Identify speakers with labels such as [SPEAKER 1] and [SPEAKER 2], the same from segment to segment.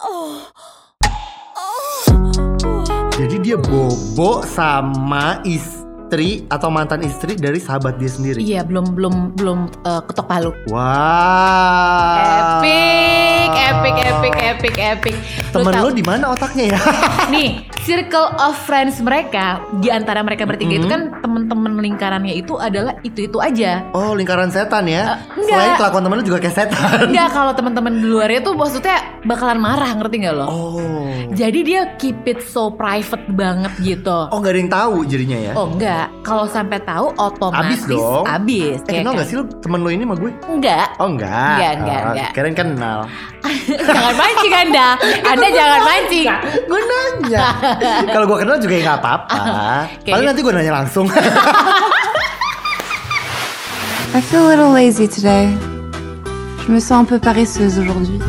[SPEAKER 1] Oh.
[SPEAKER 2] Jadi dia bobo sama istri atau mantan istri dari sahabat dia sendiri.
[SPEAKER 1] Iya, belum belum belum eh, ketok
[SPEAKER 2] Oh.
[SPEAKER 1] palu.
[SPEAKER 2] Wow.
[SPEAKER 1] Epic, epic, epic, epic, epic. Lu
[SPEAKER 2] Temen
[SPEAKER 1] tahu-
[SPEAKER 2] lu di mana otaknya ya?
[SPEAKER 1] Nih, circle of friends mereka di antara mereka bertiga
[SPEAKER 2] Mm-hmm.
[SPEAKER 1] itu kan temen-temen lingkarannya itu adalah itu-itu aja.
[SPEAKER 2] Oh, lingkaran setan ya.
[SPEAKER 1] Eh, enggak.
[SPEAKER 2] Selain kelakuan temen lu juga kayak setan.
[SPEAKER 1] Enggak kalau teman-teman di luarnya tuh maksudnya bakalan marah, ngerti nggak lo?
[SPEAKER 2] Oh.
[SPEAKER 1] Jadi dia keep it so private banget gitu.
[SPEAKER 2] Oh, nggak ada yang tahu jadinya ya.
[SPEAKER 1] Oh enggak, kalau sampai tahu otomatis
[SPEAKER 2] Abis dong.
[SPEAKER 1] abis,
[SPEAKER 2] eh,
[SPEAKER 1] ya
[SPEAKER 2] kenal
[SPEAKER 1] kan?
[SPEAKER 2] nggak sih lu temen lu ini sama gue?
[SPEAKER 1] Enggak.
[SPEAKER 2] Oh, enggak.
[SPEAKER 1] Enggak, enggak,
[SPEAKER 2] Oh,
[SPEAKER 1] enggak.
[SPEAKER 2] Keren kenal.
[SPEAKER 1] jangan mancing Anda. Anda jangan mancing.
[SPEAKER 2] gue nanya. Kalau gue kenal juga ya nggak apa-apa.
[SPEAKER 1] Oke.
[SPEAKER 2] Paling nanti gue nanya langsung.
[SPEAKER 3] I feel a little lazy today. Je me sens un peu paresseuse aujourd'hui.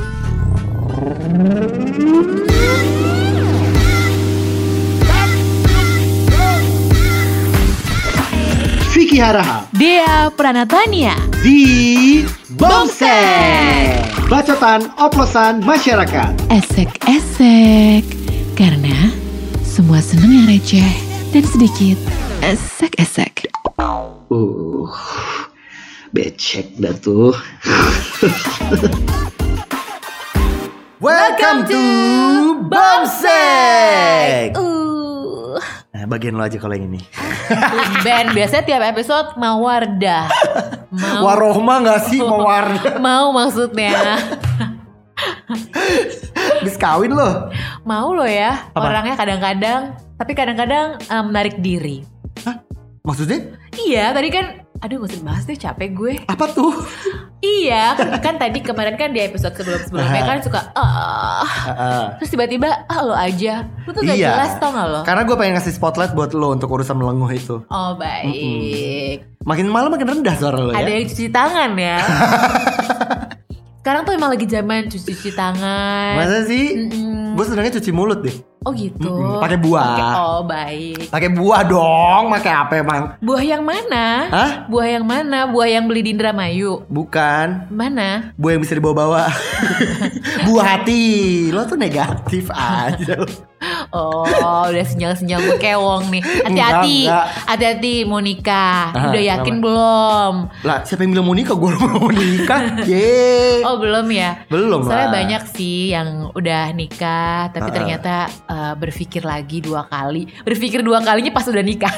[SPEAKER 2] Vicky Haraha
[SPEAKER 1] Dia Pranatania.
[SPEAKER 2] di
[SPEAKER 1] Bongseng.
[SPEAKER 2] Bacotan oplosan masyarakat.
[SPEAKER 1] Esek-esek. Karena semua seneng yang receh dan sedikit esek-esek.
[SPEAKER 4] Uh, becek dah tuh.
[SPEAKER 2] Welcome to Bongseng.
[SPEAKER 1] Uh.
[SPEAKER 2] Nah, bagian lo aja kalau yang ini.
[SPEAKER 1] Ben biasanya tiap episode mau Wardah. Mau
[SPEAKER 2] Warohma nggak sih mawar?
[SPEAKER 1] mau maksudnya.
[SPEAKER 2] Bis kawin lo.
[SPEAKER 1] Mau lo ya.
[SPEAKER 2] Apa?
[SPEAKER 1] Orangnya kadang-kadang tapi kadang-kadang eh, menarik diri.
[SPEAKER 2] Maksudnya
[SPEAKER 1] Iya, tadi kan aduh gak usah dibahas deh capek gue.
[SPEAKER 2] apa tuh?
[SPEAKER 1] Iya, kan, kan tadi kemarin kan di episode sebelum-sebelumnya kan suka ah
[SPEAKER 2] Heeh.
[SPEAKER 1] terus tiba-tiba ah lo aja. Lu tuh gak
[SPEAKER 2] Iya.
[SPEAKER 1] jelas tau gak lo?
[SPEAKER 2] Karena gue pengen ngasih spotlight buat lo untuk urusan melengguh itu.
[SPEAKER 1] Oh baik.
[SPEAKER 2] Makin malam makin rendah suara lo
[SPEAKER 1] Ada
[SPEAKER 2] ya.
[SPEAKER 1] yang cuci tangan ya. Sekarang tuh emang lagi zaman cuci-cuci tangan.
[SPEAKER 2] Masa sih?
[SPEAKER 1] Mm-mm.
[SPEAKER 2] Gue sebenarnya cuci mulut deh.
[SPEAKER 1] Oh gitu.
[SPEAKER 2] Mm-mm, pakai buah.
[SPEAKER 1] Oke, Oh baik.
[SPEAKER 2] Pakai buah dong, pakai apa emang?
[SPEAKER 1] Buah yang mana?
[SPEAKER 2] Hah?
[SPEAKER 1] Buah yang mana? Buah yang beli di Indramayu.
[SPEAKER 2] Bukan
[SPEAKER 1] Mana?
[SPEAKER 2] buah yang bisa dibawa-bawa. buah hati. Lo tuh negatif aja. lo.
[SPEAKER 1] Oh, udah sinyal-sinyal gue kewong nih. Hati-hati.
[SPEAKER 2] Enggak, enggak.
[SPEAKER 1] Hati-hati mau nikah.
[SPEAKER 2] Ah,
[SPEAKER 1] Udah yakin belum?
[SPEAKER 2] Lah, siapa yang bilang mau nikah? Gue mau nikah. Yeay.
[SPEAKER 1] Oh, belum ya.
[SPEAKER 2] Belum
[SPEAKER 1] Soalnya
[SPEAKER 2] lah.
[SPEAKER 1] banyak sih yang udah nikah tapi
[SPEAKER 2] Heeh.
[SPEAKER 1] ternyata eh, berpikir lagi dua kali. Berpikir dua kalinya pas udah nikah.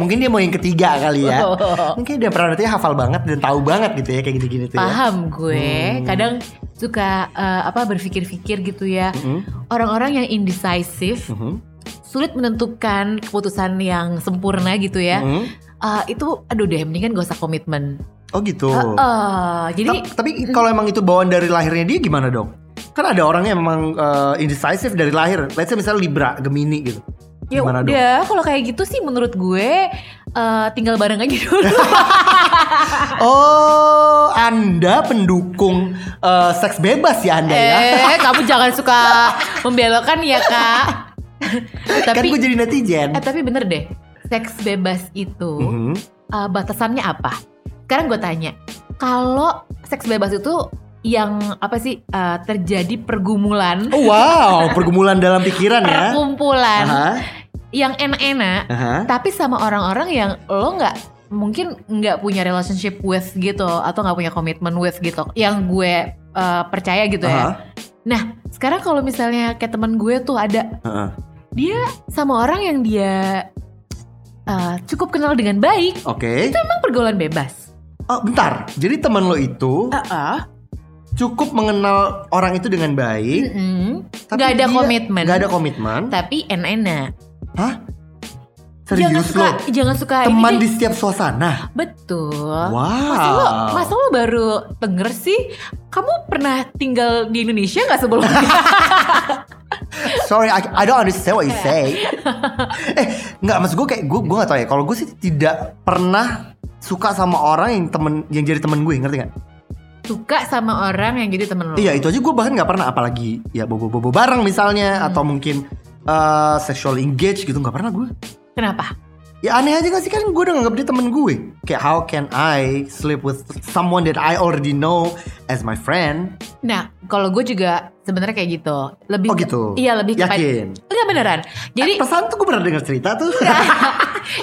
[SPEAKER 2] Mungkin dia mau yang ketiga kali ya.
[SPEAKER 1] Oh.
[SPEAKER 2] Mungkin dia pernah nanti hafal banget dan tahu banget gitu ya kayak gini-gini tuh ya.
[SPEAKER 1] Paham gue.
[SPEAKER 2] Hmm.
[SPEAKER 1] Kadang suka eh, apa berpikir-pikir gitu ya.
[SPEAKER 2] Mm-mm.
[SPEAKER 1] Orang-orang yang indecisive
[SPEAKER 2] Mhm.
[SPEAKER 1] sulit menentukan keputusan yang sempurna gitu ya.
[SPEAKER 2] Mhm.
[SPEAKER 1] Eh, itu aduh deh mendingan gak usah komitmen.
[SPEAKER 2] Oh gitu.
[SPEAKER 1] Heeh, jadi
[SPEAKER 2] Ta- tapi kalau emang itu bawaan dari lahirnya dia gimana dong? Kan ada orang yang emang eh, indecisive dari lahir. Let's say misalnya Libra, Gemini gitu.
[SPEAKER 1] ya
[SPEAKER 2] Gimana dong?
[SPEAKER 1] udah kalau kayak gitu sih menurut gue eh, tinggal bareng aja dulu.
[SPEAKER 2] Oh, Anda pendukung eh, seks bebas ya Anda ya?
[SPEAKER 1] eh, kamu jangan suka membelokkan ya, Kak.
[SPEAKER 2] kan
[SPEAKER 1] tapi
[SPEAKER 2] gue jadi netizen.
[SPEAKER 1] eh, tapi bener deh. Seks bebas itu
[SPEAKER 2] Mhm.
[SPEAKER 1] eh, batasannya apa? Sekarang gue tanya, kalau seks bebas itu yang apa sih eh, terjadi pergumulan,
[SPEAKER 2] Oh, wow, pergumulan dalam pikiran ya.
[SPEAKER 1] perkumpulan
[SPEAKER 2] Aha,
[SPEAKER 1] yang enak-enak,
[SPEAKER 2] aha.
[SPEAKER 1] tapi sama orang-orang yang lo nggak mungkin nggak punya relationship with gitu atau nggak punya komitmen with gitu, yang gue eh, percaya gitu ya.
[SPEAKER 2] Aha,
[SPEAKER 1] Nah, sekarang kalau misalnya kayak teman gue tuh ada
[SPEAKER 2] aha.
[SPEAKER 1] dia sama orang yang dia eh, cukup kenal dengan baik,
[SPEAKER 2] Oke.
[SPEAKER 1] emang pergaulan bebas.
[SPEAKER 2] Oh, bentar. Jadi teman lo itu
[SPEAKER 1] Heeh.
[SPEAKER 2] cukup mengenal orang itu dengan baik, tapi
[SPEAKER 1] Nggak ada
[SPEAKER 2] dia-
[SPEAKER 1] komitmen.
[SPEAKER 2] Nggak ada komitmen.
[SPEAKER 1] Tapi enak-enak.
[SPEAKER 2] Hah?
[SPEAKER 1] Jangan
[SPEAKER 2] Serius
[SPEAKER 1] suka,
[SPEAKER 2] lo?
[SPEAKER 1] jangan suka ini
[SPEAKER 2] Teman
[SPEAKER 1] deh.
[SPEAKER 2] di setiap suasana.
[SPEAKER 1] Betul.
[SPEAKER 2] Wow.
[SPEAKER 1] Masa lo, masa lo baru denger sih? Kamu pernah tinggal di Indonesia nggak sebelumnya?
[SPEAKER 2] Sorry, I, I don't understand what you say. eh, nggak maksud gue kayak gue gue nggak tahu ya. Kalau gue sih tidak pernah suka sama orang yang temen yang jadi temen gue ngerti nggak?
[SPEAKER 1] suka sama orang yang jadi temen lo.
[SPEAKER 2] Iya itu aja gue bahkan nggak pernah apalagi ya bobo-bobo
[SPEAKER 1] Hmm.
[SPEAKER 2] bareng misalnya atau mungkin eh sexual engage gitu nggak pernah gue
[SPEAKER 1] Kenapa?
[SPEAKER 2] Ya aneh aja gak sih kan gue udah nganggap dia temen gue Kayak how can I sleep with someone that I already know as my friend
[SPEAKER 1] Nah, kalau gue juga sebenarnya kayak gitu. Lebih
[SPEAKER 2] Oh
[SPEAKER 1] ke-
[SPEAKER 2] gitu
[SPEAKER 1] Iya, lebih kepada-
[SPEAKER 2] Yakin
[SPEAKER 1] Enggak beneran. Jadi
[SPEAKER 2] Pesan tuh gue pernah denger cerita tuh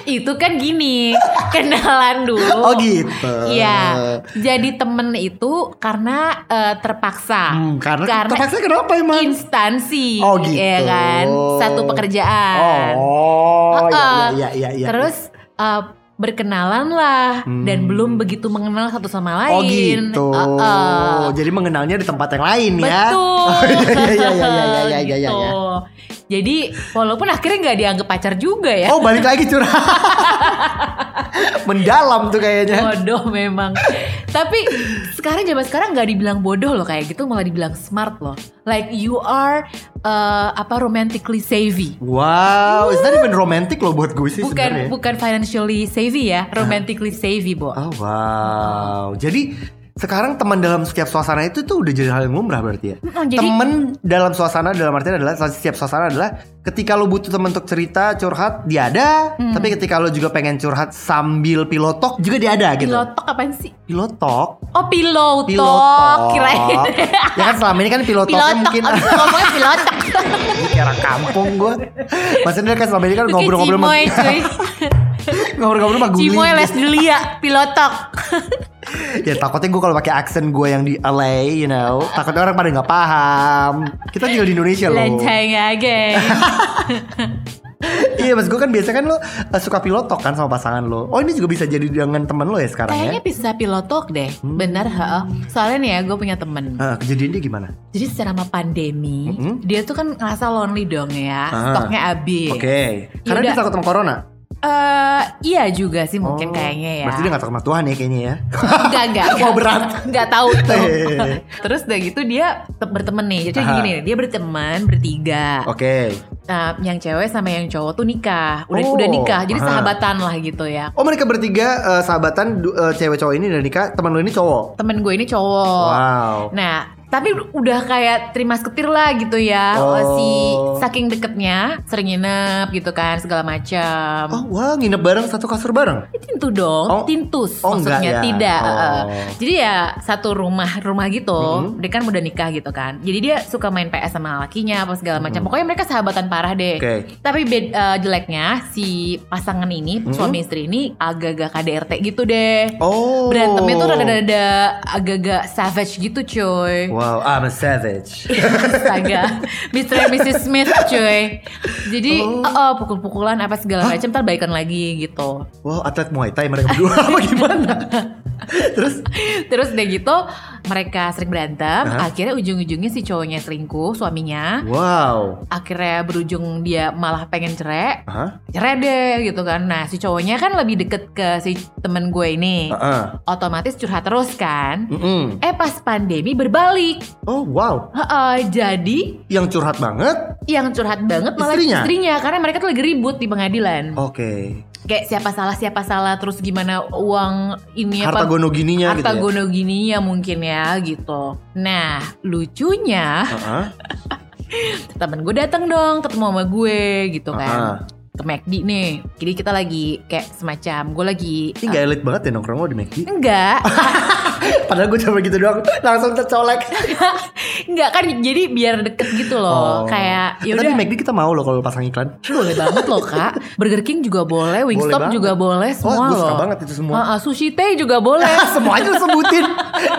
[SPEAKER 1] itu kan gini, kenalan dulu.
[SPEAKER 2] Oh gitu
[SPEAKER 1] Iya. Jadi temen itu karena eh, terpaksa.
[SPEAKER 2] Hmm, karena,
[SPEAKER 1] Karena-
[SPEAKER 2] terpaksa kenapa emang?
[SPEAKER 1] Instansi,
[SPEAKER 2] Oh, gitu.
[SPEAKER 1] ya kan? Satu pekerjaan.
[SPEAKER 2] Oh, iya,
[SPEAKER 1] Heeh.
[SPEAKER 2] iya, iya, iya.
[SPEAKER 1] Terus eh, berkenalan lah
[SPEAKER 2] Hmm.
[SPEAKER 1] dan belum begitu mengenal satu sama lain. Eh,
[SPEAKER 2] Oh gitu.
[SPEAKER 1] Heeh.
[SPEAKER 2] Jadi mengenalnya di tempat yang lain ya.
[SPEAKER 1] Betul.
[SPEAKER 2] Oh, iya, iya, iya, iya, iya, iya, iya, iya.
[SPEAKER 1] Gitu. Jadi walaupun akhirnya nggak dianggap pacar juga ya.
[SPEAKER 2] Oh balik lagi curhat. Mendalam tuh kayaknya.
[SPEAKER 1] Bodoh memang. Tapi sekarang zaman sekarang nggak dibilang bodoh loh kayak gitu, malah dibilang smart loh. Like you are uh, apa romantically savvy.
[SPEAKER 2] Wow, it's not even romantic loh buat gue sih
[SPEAKER 1] Bukan
[SPEAKER 2] sebenarnya.
[SPEAKER 1] bukan financially savvy ya, romantically savvy, Bo.
[SPEAKER 2] Oh wow. Jadi sekarang teman dalam setiap suasana itu tuh udah jadi hal yang lumrah berarti ya.
[SPEAKER 1] Mm, jadi-
[SPEAKER 2] temen dalam suasana dalam artian adalah setiap suasana adalah ketika lo butuh teman untuk cerita curhat dia ada,
[SPEAKER 1] Mm.
[SPEAKER 2] tapi ketika lo juga pengen curhat sambil pilotok juga dia ada gitu.
[SPEAKER 1] Pilotok apaan sih?
[SPEAKER 2] Pilotok,
[SPEAKER 1] Oh, pilotok.
[SPEAKER 2] pilotok.
[SPEAKER 1] Kirain.
[SPEAKER 2] ya kan selama ini kan pilotoknya
[SPEAKER 1] pilotok.
[SPEAKER 2] mungkin
[SPEAKER 1] Aku ngomongnya pilotok.
[SPEAKER 2] kira kampung gue. Maksudnya kan selama ini kan
[SPEAKER 1] Lu kayak
[SPEAKER 2] ngobrol-ngobrol sama
[SPEAKER 1] Cimoy, cuy.
[SPEAKER 2] ngobrol-ngobrol sama guling. gitu.
[SPEAKER 1] Cimoy les Delia, pilotok.
[SPEAKER 2] ya takutnya gue kalau pakai aksen gue yang di LA, you know, takutnya orang pada nggak paham. Kita tinggal di Indonesia loh.
[SPEAKER 1] Lencengnya, geng.
[SPEAKER 2] Iya, mas gue kan biasanya kan lo eh, suka pilotok kan sama pasangan lo. Oh ini juga bisa jadi dengan temen lo ya sekarang
[SPEAKER 1] Kayaknya
[SPEAKER 2] ya?
[SPEAKER 1] bisa pilotok deh,
[SPEAKER 2] Hmm.
[SPEAKER 1] bener heeh. Soalnya nih ya gue punya temen.
[SPEAKER 2] Eh, kejadian dia gimana?
[SPEAKER 1] Jadi selama pandemi
[SPEAKER 2] Mm-mm.
[SPEAKER 1] dia tuh kan ngerasa lonely dong ya,
[SPEAKER 2] Ah.
[SPEAKER 1] stoknya habis.
[SPEAKER 2] Oke. Karena dia
[SPEAKER 1] Yaudah.
[SPEAKER 2] takut sama corona.
[SPEAKER 1] Eh, iya juga sih mungkin
[SPEAKER 2] Oh,
[SPEAKER 1] kayaknya ya.
[SPEAKER 2] Berarti dia nggak takut sama Tuhan ya kayaknya ya.
[SPEAKER 1] Enggak enggak.
[SPEAKER 2] Oh, berat.
[SPEAKER 1] Enggak tahu tuh.
[SPEAKER 2] Hehehe.
[SPEAKER 1] Terus udah gitu dia te- berteman nih. Jadi
[SPEAKER 2] Aha.
[SPEAKER 1] gini, dia berteman bertiga.
[SPEAKER 2] Oke.
[SPEAKER 1] Nah, yang cewek sama yang cowok tuh nikah. Udah
[SPEAKER 2] Oh,
[SPEAKER 1] udah nikah. Jadi
[SPEAKER 2] aha.
[SPEAKER 1] sahabatan lah gitu ya.
[SPEAKER 2] Oh mereka bertiga eh, sahabatan du- eh, cewek cowok ini dan nikah teman lo ini cowok.
[SPEAKER 1] Temen gue ini cowok.
[SPEAKER 2] Wow.
[SPEAKER 1] Nah, tapi udah kayak terima seketir lah gitu ya.
[SPEAKER 2] Oh.
[SPEAKER 1] Si saking deketnya sering nginep gitu kan segala
[SPEAKER 2] Oh
[SPEAKER 1] macam.
[SPEAKER 2] wah nginep bareng satu kasur bareng.
[SPEAKER 1] Ya, Tintu dong,
[SPEAKER 2] Oh.
[SPEAKER 1] tintus
[SPEAKER 2] Oh, enggak
[SPEAKER 1] maksudnya
[SPEAKER 2] ya.
[SPEAKER 1] tidak.
[SPEAKER 2] Oh.
[SPEAKER 1] eh. Jadi ya satu rumah rumah gitu.
[SPEAKER 2] Mhm.
[SPEAKER 1] Dia kan udah nikah gitu kan. Jadi dia suka main PS sama lakinya apa segala macam. Pokoknya mereka sahabatan parah deh.
[SPEAKER 2] Hmm. Oke.
[SPEAKER 1] Tapi bed- eh, jeleknya si pasangan ini
[SPEAKER 2] Mhm.
[SPEAKER 1] suami istri ini agak-agak KDRT gitu deh.
[SPEAKER 2] Oh.
[SPEAKER 1] Berantemnya tuh rada-rada agak-agak savage gitu coy.
[SPEAKER 2] Oh. Wow, I'm a savage.
[SPEAKER 1] Astaga, Mr. and Mrs. Smith cuy. Jadi
[SPEAKER 2] Oh.
[SPEAKER 1] oh, oh, pukul-pukulan apa segala macam, ntar baikan lagi gitu.
[SPEAKER 2] Wow, atlet Muay Thai mereka berdua apa Oh, gimana? Terus
[SPEAKER 1] Terus udah gitu mereka sering berantem,
[SPEAKER 2] Hah?
[SPEAKER 1] akhirnya ujung-ujungnya si cowoknya selingkuh, suaminya.
[SPEAKER 2] wow.
[SPEAKER 1] Akhirnya berujung dia malah pengen cerai,
[SPEAKER 2] Hah?
[SPEAKER 1] cerai deh gitu kan. Nah si cowoknya kan lebih deket ke si temen gue ini,
[SPEAKER 2] Heeh.
[SPEAKER 1] otomatis curhat terus kan.
[SPEAKER 2] Mm-mm.
[SPEAKER 1] Eh pas pandemi berbalik,
[SPEAKER 2] Oh, wow.
[SPEAKER 1] Heeh, jadi
[SPEAKER 2] Yang curhat banget.
[SPEAKER 1] yang curhat banget malah
[SPEAKER 2] Istrinya? Oh.
[SPEAKER 1] karena mereka tuh lagi ribut di pengadilan.
[SPEAKER 2] Oke.
[SPEAKER 1] Kayak siapa salah siapa salah terus gimana uang ini
[SPEAKER 2] Harta gono
[SPEAKER 1] Iya,
[SPEAKER 2] gininya
[SPEAKER 1] harta
[SPEAKER 2] gitu ya.
[SPEAKER 1] gono gininya mungkin ya gitu. Nah, lucunya
[SPEAKER 2] Heeh.
[SPEAKER 1] temen gue datang dong ketemu sama gue gitu kan.
[SPEAKER 2] Heeh.
[SPEAKER 1] Ke McD nih. Jadi kita lagi kayak semacam gue lagi
[SPEAKER 2] Ini gak elit banget ya nongkrong lo di McD.
[SPEAKER 1] eh, enggak,
[SPEAKER 2] Padahal gue coba gitu doang, langsung tercolek.
[SPEAKER 1] enggak kan jadi biar deket gitu loh.
[SPEAKER 2] Oh.
[SPEAKER 1] Kayak ya
[SPEAKER 2] Tapi
[SPEAKER 1] udah
[SPEAKER 2] McD kita mau loh kalau pasang iklan.
[SPEAKER 1] boleh banget loh Kak. Burger King juga boleh, Wingstop
[SPEAKER 2] banget.
[SPEAKER 1] juga boleh, semua
[SPEAKER 2] oh, gue
[SPEAKER 1] loh.
[SPEAKER 2] suka banget itu semua.
[SPEAKER 1] Heeh, sushi teh juga boleh.
[SPEAKER 2] Semuanya lo sebutin.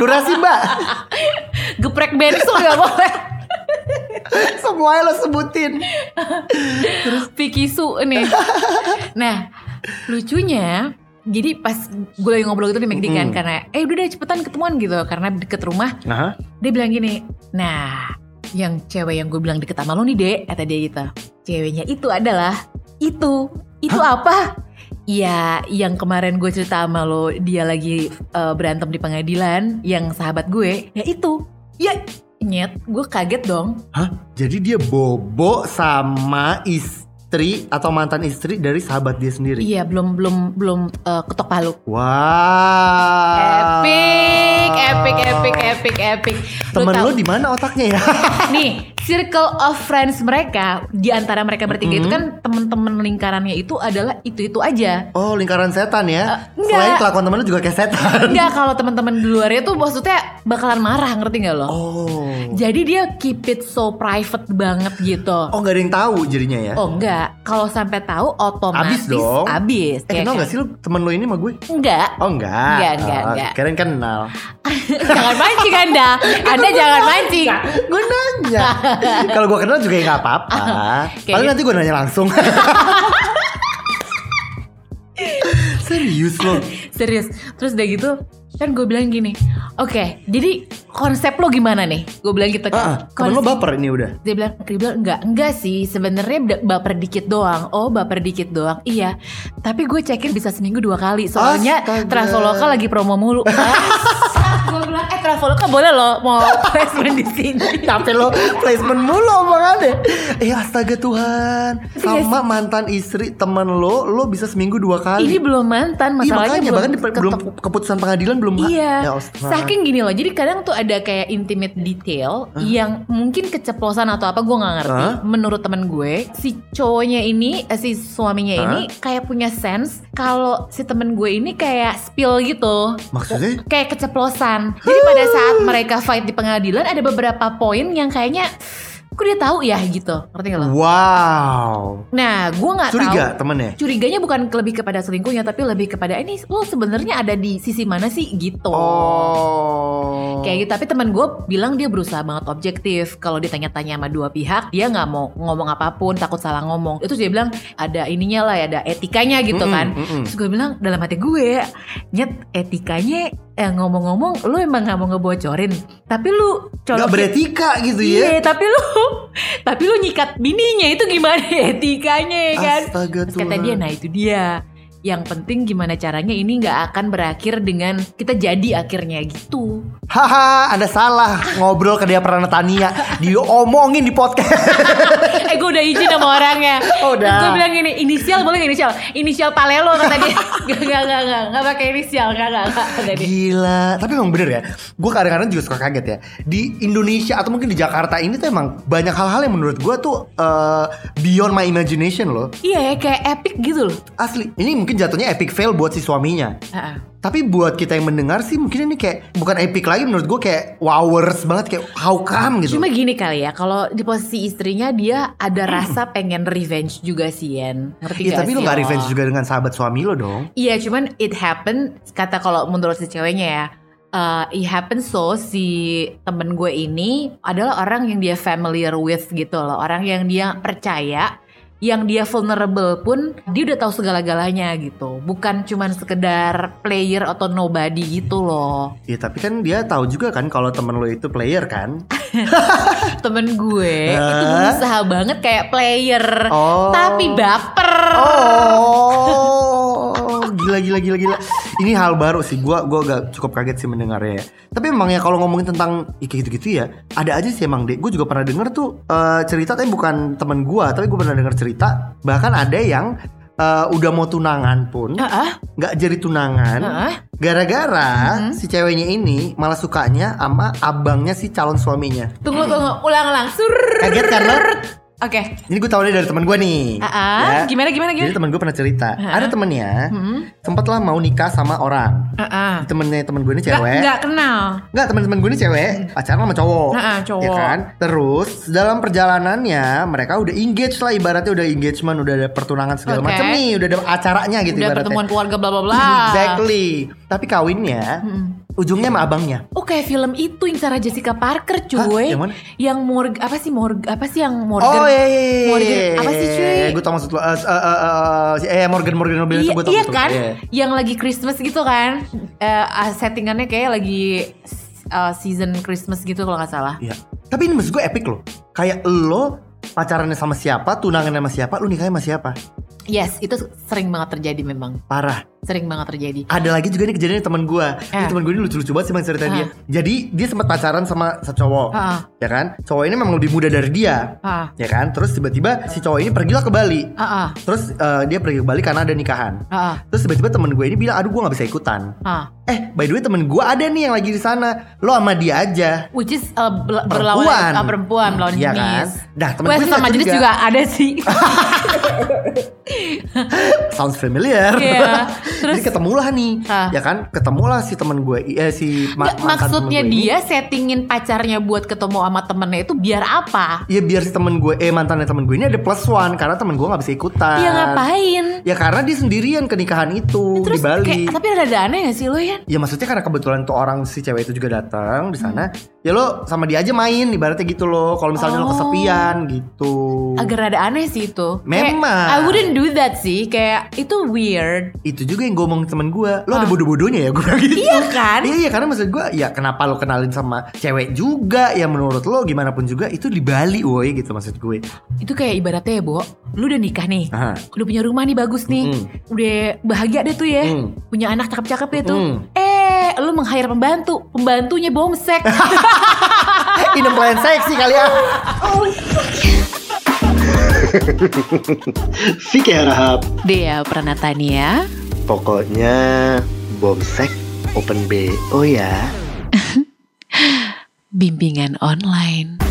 [SPEAKER 2] Durasi, Mbak.
[SPEAKER 1] Geprek bensu nggak boleh.
[SPEAKER 2] Semuanya lo sebutin.
[SPEAKER 1] Pikisu nih. Nah, lucunya jadi pas gue lagi ngobrol gitu di McD kan
[SPEAKER 2] Mm-mm.
[SPEAKER 1] karena eh udah deh cepetan ketemuan gitu karena deket rumah
[SPEAKER 2] Nah,
[SPEAKER 1] dia bilang gini nah yang cewek yang gue bilang deket sama lo nih dek kata dia gitu ceweknya itu adalah itu itu apa Iya, yang kemarin gue cerita sama lo, dia lagi eh, berantem di pengadilan, yang sahabat gue, ya itu, ya nyet, gue kaget dong,
[SPEAKER 2] Hah? Jadi dia bobo sama istri atau mantan istri dari sahabat dia sendiri.
[SPEAKER 1] Iya belum belum belum eh, ketok palu.
[SPEAKER 2] Wow.
[SPEAKER 1] Epic, epic, epic, epic, epic.
[SPEAKER 2] Ah. Temen
[SPEAKER 1] tahu-
[SPEAKER 2] lo di mana otaknya ya?
[SPEAKER 1] nih circle of friends mereka di antara mereka bertiga itu
[SPEAKER 2] Mhm.
[SPEAKER 1] kan temen-temen lingkarannya itu adalah itu-itu aja.
[SPEAKER 2] Oh lingkaran setan ya.
[SPEAKER 1] Eh, enggak.
[SPEAKER 2] Selain kelakuan temen lu juga kayak setan.
[SPEAKER 1] Enggak kalau teman-teman di luarnya tuh maksudnya bakalan marah ngerti nggak lo?
[SPEAKER 2] Oh.
[SPEAKER 1] Jadi dia keep it so private banget gitu.
[SPEAKER 2] Oh nggak ada yang tahu jadinya ya.
[SPEAKER 1] Oh enggak, kalau sampai tahu otomatis
[SPEAKER 2] Abis dong.
[SPEAKER 1] abis,
[SPEAKER 2] eh
[SPEAKER 1] ya
[SPEAKER 2] kenal
[SPEAKER 1] kan?
[SPEAKER 2] nggak sih lu temen lu ini sama gue?
[SPEAKER 1] Enggak,
[SPEAKER 2] Oh enggak.
[SPEAKER 1] Enggak, enggak,
[SPEAKER 2] Oh,
[SPEAKER 1] enggak.
[SPEAKER 2] Keren kenal.
[SPEAKER 1] jangan mancing Anda. Anda jangan mancing.
[SPEAKER 2] Gue nanya. Kalau gue kenal juga ya nggak apa-apa.
[SPEAKER 1] Ah, Oke.
[SPEAKER 2] Paling nanti gue nanya langsung. Serius lo.
[SPEAKER 1] Serius. Terus udah gitu, kan gue bilang gini, oke, jadi konsep lo gimana nih? Gue bilang gitu
[SPEAKER 2] Ah,
[SPEAKER 1] kan.
[SPEAKER 2] temen lo
[SPEAKER 1] Konsep-
[SPEAKER 2] baper ini udah.
[SPEAKER 1] dia bilang, dia bilang enggak, enggak sih. Sebenarnya ba- baper dikit doang. Oh, baper dikit doang. Iya. Tapi gue cekin bisa seminggu dua kali. Soalnya
[SPEAKER 2] Astaga.
[SPEAKER 1] Traveloka lagi promo mulu. Bangsat, gue bilang, eh Traveloka boleh loh mau placement di sini.
[SPEAKER 2] Tapi lo placement mulu omongannya Eh astaga Tuhan
[SPEAKER 1] Iya
[SPEAKER 2] Sama mantan istri temen lo Lo bisa seminggu dua
[SPEAKER 1] Ini
[SPEAKER 2] kali
[SPEAKER 1] belum mantan,
[SPEAKER 2] Ih,
[SPEAKER 1] masalahnya
[SPEAKER 2] Iya, makanya
[SPEAKER 1] belum,
[SPEAKER 2] bahkan di- belum
[SPEAKER 1] ketemu.
[SPEAKER 2] keputusan pengadilan belum Ya,
[SPEAKER 1] Iya,
[SPEAKER 2] astaga.
[SPEAKER 1] saking gini loh. Jadi kadang tuh ada kayak intimate detail yang mungkin keceplosan atau apa gue nggak ngerti.
[SPEAKER 2] Hah?
[SPEAKER 1] Menurut temen gue, si cowoknya ini, eh, si suaminya
[SPEAKER 2] Hah?
[SPEAKER 1] ini kayak punya sense kalau si temen gue ini kayak spill gitu,
[SPEAKER 2] Maksudnya
[SPEAKER 1] kayak keceplosan. Jadi pada saat mereka fight di pengadilan ada beberapa poin yang kayaknya, kok dia tahu ya gitu, ngerti nggak lo?
[SPEAKER 2] Wow
[SPEAKER 1] Nah, gue nggak tahu.
[SPEAKER 2] Hmm. Curiga temennya
[SPEAKER 1] Curiganya bukan ke- lebih kepada selingkuhnya, tapi lebih kepada ini lo sebenarnya ada di sisi mana sih gitu.
[SPEAKER 2] Oh
[SPEAKER 1] Kayak gitu, tapi teman gue bilang dia berusaha banget objektif. Kalau ditanya-tanya sama dua pihak, dia nggak mau ngomong apapun, takut salah ngomong. Itu dia bilang ada ininya lah, ya, ada etikanya gitu
[SPEAKER 2] Mm-mm,
[SPEAKER 1] kan.
[SPEAKER 2] mm-mm.
[SPEAKER 1] Terus gue bilang dalam hati gue, nyet etikanya eh, ngomong-ngomong, lu emang nggak mau ngebocorin, tapi lu
[SPEAKER 2] Gak beretika gitu ya
[SPEAKER 1] Iya, tapi lu, tapi lu nyikat bininya itu gimana etikanya ya kan?
[SPEAKER 2] Astaga
[SPEAKER 1] Terus
[SPEAKER 2] Tuhan
[SPEAKER 1] kata dia, nah itu dia. Yang penting gimana caranya ini nggak akan berakhir dengan kita jadi akhirnya gitu.
[SPEAKER 2] Haha anda salah Ngobrol ke dia Pranatania Diomongin di podcast
[SPEAKER 1] eh gue udah izin sama orangnya
[SPEAKER 2] Oh, udah.
[SPEAKER 1] Terus Gue bilang gini Inisial boleh gak inisial Inisial Palelo kata dia Gak gak gak gak Gak pakai inisial Gak gak gak kata dia.
[SPEAKER 2] Gila, tapi emang bener ya. Gue kadang-kadang juga suka kaget ya. Di Indonesia atau mungkin di Jakarta ini tuh emang banyak hal-hal yang menurut gue tuh eh, beyond my imagination loh.
[SPEAKER 1] Iya ya kayak epic gitu loh
[SPEAKER 2] Asli, ini mungkin jatuhnya epic fail buat si suaminya.
[SPEAKER 1] Ah, ah.
[SPEAKER 2] Tapi buat kita yang mendengar sih mungkin ini kayak bukan epic lagi menurut gue kayak wowers banget kayak how come gitu.
[SPEAKER 1] Cuma gini kali ya Kalau di posisi istrinya Dia ada rasa pengen revenge juga sih Yen Ngerti
[SPEAKER 2] Iya,
[SPEAKER 1] gak
[SPEAKER 2] tapi
[SPEAKER 1] sih Oh.
[SPEAKER 2] lo gak
[SPEAKER 1] lo?
[SPEAKER 2] revenge juga dengan sahabat suami lo dong.
[SPEAKER 1] Iya cuman it happen Kata kalau menurut si ceweknya ya eh, it happen so si temen gue ini adalah orang yang dia familiar with gitu loh Orang yang dia percaya yang dia vulnerable pun dia udah tahu segala-galanya gitu bukan cuman sekedar player atau nobody gitu loh
[SPEAKER 2] Iya, tapi kan dia tahu juga kan kalau temen lo itu player kan.
[SPEAKER 1] temen gue itu
[SPEAKER 2] Eh?
[SPEAKER 1] berusaha banget kayak player
[SPEAKER 2] Oh.
[SPEAKER 1] tapi baper
[SPEAKER 2] Oh, gila gila gila gila. Ini hal baru sih. Gua gua gak cukup kaget sih mendengarnya. ya. Tapi emang ya kalau ngomongin tentang ya kayak gitu-gitu ya, ada aja sih emang deh. Gue juga pernah denger tuh eh, cerita tapi bukan temen gua, tapi gue pernah denger cerita bahkan ada yang eh, udah mau tunangan pun
[SPEAKER 1] Heeh,
[SPEAKER 2] nggak jadi tunangan
[SPEAKER 1] heeh.
[SPEAKER 2] gara-gara
[SPEAKER 1] Hmm?
[SPEAKER 2] si ceweknya ini malah sukanya sama abangnya si calon suaminya.
[SPEAKER 1] tunggu tunggu ulang-ulang Surrrr.
[SPEAKER 2] Kaget kan lo?
[SPEAKER 1] oke
[SPEAKER 2] Ini gue tahu dari teman gue nih.
[SPEAKER 1] Ah, ah.
[SPEAKER 2] Ya.
[SPEAKER 1] gimana gimana
[SPEAKER 2] Jadi
[SPEAKER 1] gimana
[SPEAKER 2] teman gue pernah cerita, ada temennya
[SPEAKER 1] Mm-mm.
[SPEAKER 2] sempatlah mau nikah sama orang. Nah,
[SPEAKER 1] Heeh.
[SPEAKER 2] Temennya temen gue ini
[SPEAKER 1] Nggak-
[SPEAKER 2] cewek.
[SPEAKER 1] nggak kenal.
[SPEAKER 2] Enggak, teman-teman gue ini cewek, pacaran sama cowok.
[SPEAKER 1] Heeh, ah, cowok.
[SPEAKER 2] Ya kan? Terus dalam perjalanannya mereka udah engage lah ibaratnya udah engagement, udah ada pertunangan segala
[SPEAKER 1] Oke.
[SPEAKER 2] macem nih, udah ada acaranya gitu
[SPEAKER 1] Udah
[SPEAKER 2] ibaratnya.
[SPEAKER 1] pertemuan keluarga bla bla bla.
[SPEAKER 2] Exactly. Tapi kawinnya
[SPEAKER 1] Mm-mm.
[SPEAKER 2] ujungnya sama abangnya.
[SPEAKER 1] Oh kayak film itu yang cara Jessica Parker cuy.
[SPEAKER 2] Hah, yang mana?
[SPEAKER 1] Yang Morg apa sih Morg apa sih yang Morgan?
[SPEAKER 2] Oh iya iya iya.
[SPEAKER 1] Morgan apa sih cuy?
[SPEAKER 2] Gue tau maksud lo. eh, eh, eh, eh, si- eh Morgan Morgan Morgan itu
[SPEAKER 1] Iya,
[SPEAKER 2] gue tau.
[SPEAKER 1] iya
[SPEAKER 2] betul.
[SPEAKER 1] kan?
[SPEAKER 2] Iya.
[SPEAKER 1] Yang lagi Christmas gitu kan? Eh, ah, settingannya kayak lagi eh, season Christmas gitu kalau nggak salah.
[SPEAKER 2] Iya. Tapi ini maksud gue epic loh. Kayak lo pacarannya sama siapa, tunangannya sama siapa, lu nikahnya sama siapa.
[SPEAKER 1] Yes, itu sering banget terjadi memang.
[SPEAKER 2] Parah.
[SPEAKER 1] sering banget terjadi.
[SPEAKER 2] ada lagi juga nih kejadian teman gue
[SPEAKER 1] Eh.
[SPEAKER 2] Ini teman gue ini lucu-lucu banget sih Bang, cerita dia jadi dia sempat pacaran sama satu cowok
[SPEAKER 1] Ah.
[SPEAKER 2] ya kan cowok ini memang lebih muda dari dia
[SPEAKER 1] Ah,
[SPEAKER 2] ya kan terus tiba-tiba si cowok ini pergilah ke Bali
[SPEAKER 1] ah, ah,
[SPEAKER 2] terus eh, dia pergi ke Bali karena ada nikahan
[SPEAKER 1] ah, ah,
[SPEAKER 2] terus tiba-tiba temen gue ini bilang aduh gue nggak bisa ikutan
[SPEAKER 1] ah.
[SPEAKER 2] eh by the way temen gue ada nih yang lagi di sana lo sama dia aja
[SPEAKER 1] Which is uh, bel-
[SPEAKER 2] Perempuan.
[SPEAKER 1] berlawan ah, perempuan melawan
[SPEAKER 2] Iya
[SPEAKER 1] jenis.
[SPEAKER 2] kan? Nah, temen
[SPEAKER 1] Wah,
[SPEAKER 2] gue
[SPEAKER 1] sesama
[SPEAKER 2] juga
[SPEAKER 1] jenis
[SPEAKER 2] juga.
[SPEAKER 1] juga ada sih.
[SPEAKER 2] sounds familiar
[SPEAKER 1] Iya.
[SPEAKER 2] jadi ketemulah nih
[SPEAKER 1] Ah.
[SPEAKER 2] ya kan ketemulah si temen gue eh, si ma-
[SPEAKER 1] Nggak,
[SPEAKER 2] mantan temen
[SPEAKER 1] maksudnya
[SPEAKER 2] gue ini.
[SPEAKER 1] dia settingin pacarnya buat ketemu sama temennya itu biar apa?
[SPEAKER 2] Ya biar si temen gue Eh mantannya temen gue ini ada plus one Karena temen gue gak bisa ikutan
[SPEAKER 1] Ya ngapain? Ya,
[SPEAKER 2] Ya karena dia sendirian ke nikahan itu
[SPEAKER 1] Terus
[SPEAKER 2] Di Bali
[SPEAKER 1] kayak, tapi rada aneh gak sih lo ya?
[SPEAKER 2] Ya maksudnya karena kebetulan tuh orang si cewek itu juga datang di sana, ya lo sama dia aja main, ibaratnya gitu loh. Kalau misalnya lo
[SPEAKER 1] Hmm. Oh.
[SPEAKER 2] kesepian gitu.
[SPEAKER 1] Agak rada aneh sih itu. Kayak,
[SPEAKER 2] Memang.
[SPEAKER 1] I wouldn't do that sih. Kayak itu weird.
[SPEAKER 2] Itu juga yang gue omong ke temen gue, lo ada
[SPEAKER 1] Ah.
[SPEAKER 2] bodoh-bodohnya ya gue bilang gitu.
[SPEAKER 1] Iya kan?
[SPEAKER 2] Iya iya karena maksud gue ya kenapa lo kenalin sama cewek juga ya menurut lo gimana pun juga itu di Bali woi gitu maksud gue.
[SPEAKER 1] Itu kayak ibaratnya ya, Bo. Lu udah nikah nih.
[SPEAKER 2] Aha.
[SPEAKER 1] Udah punya rumah nih bagus nih.
[SPEAKER 2] Mm-mm.
[SPEAKER 1] Udah bahagia deh tuh ya.
[SPEAKER 2] Mm.
[SPEAKER 1] Punya anak cakep-cakep ya tuh.
[SPEAKER 2] Mm.
[SPEAKER 1] Eh, lu meng-hire pembantu. Pembantunya bomsek.
[SPEAKER 2] Ini plan seksi kali ya.
[SPEAKER 4] Fikir Harahap
[SPEAKER 1] Dea Pranatania.
[SPEAKER 4] Pokoknya Bomsek Open B Oh ya
[SPEAKER 1] Bimbingan online.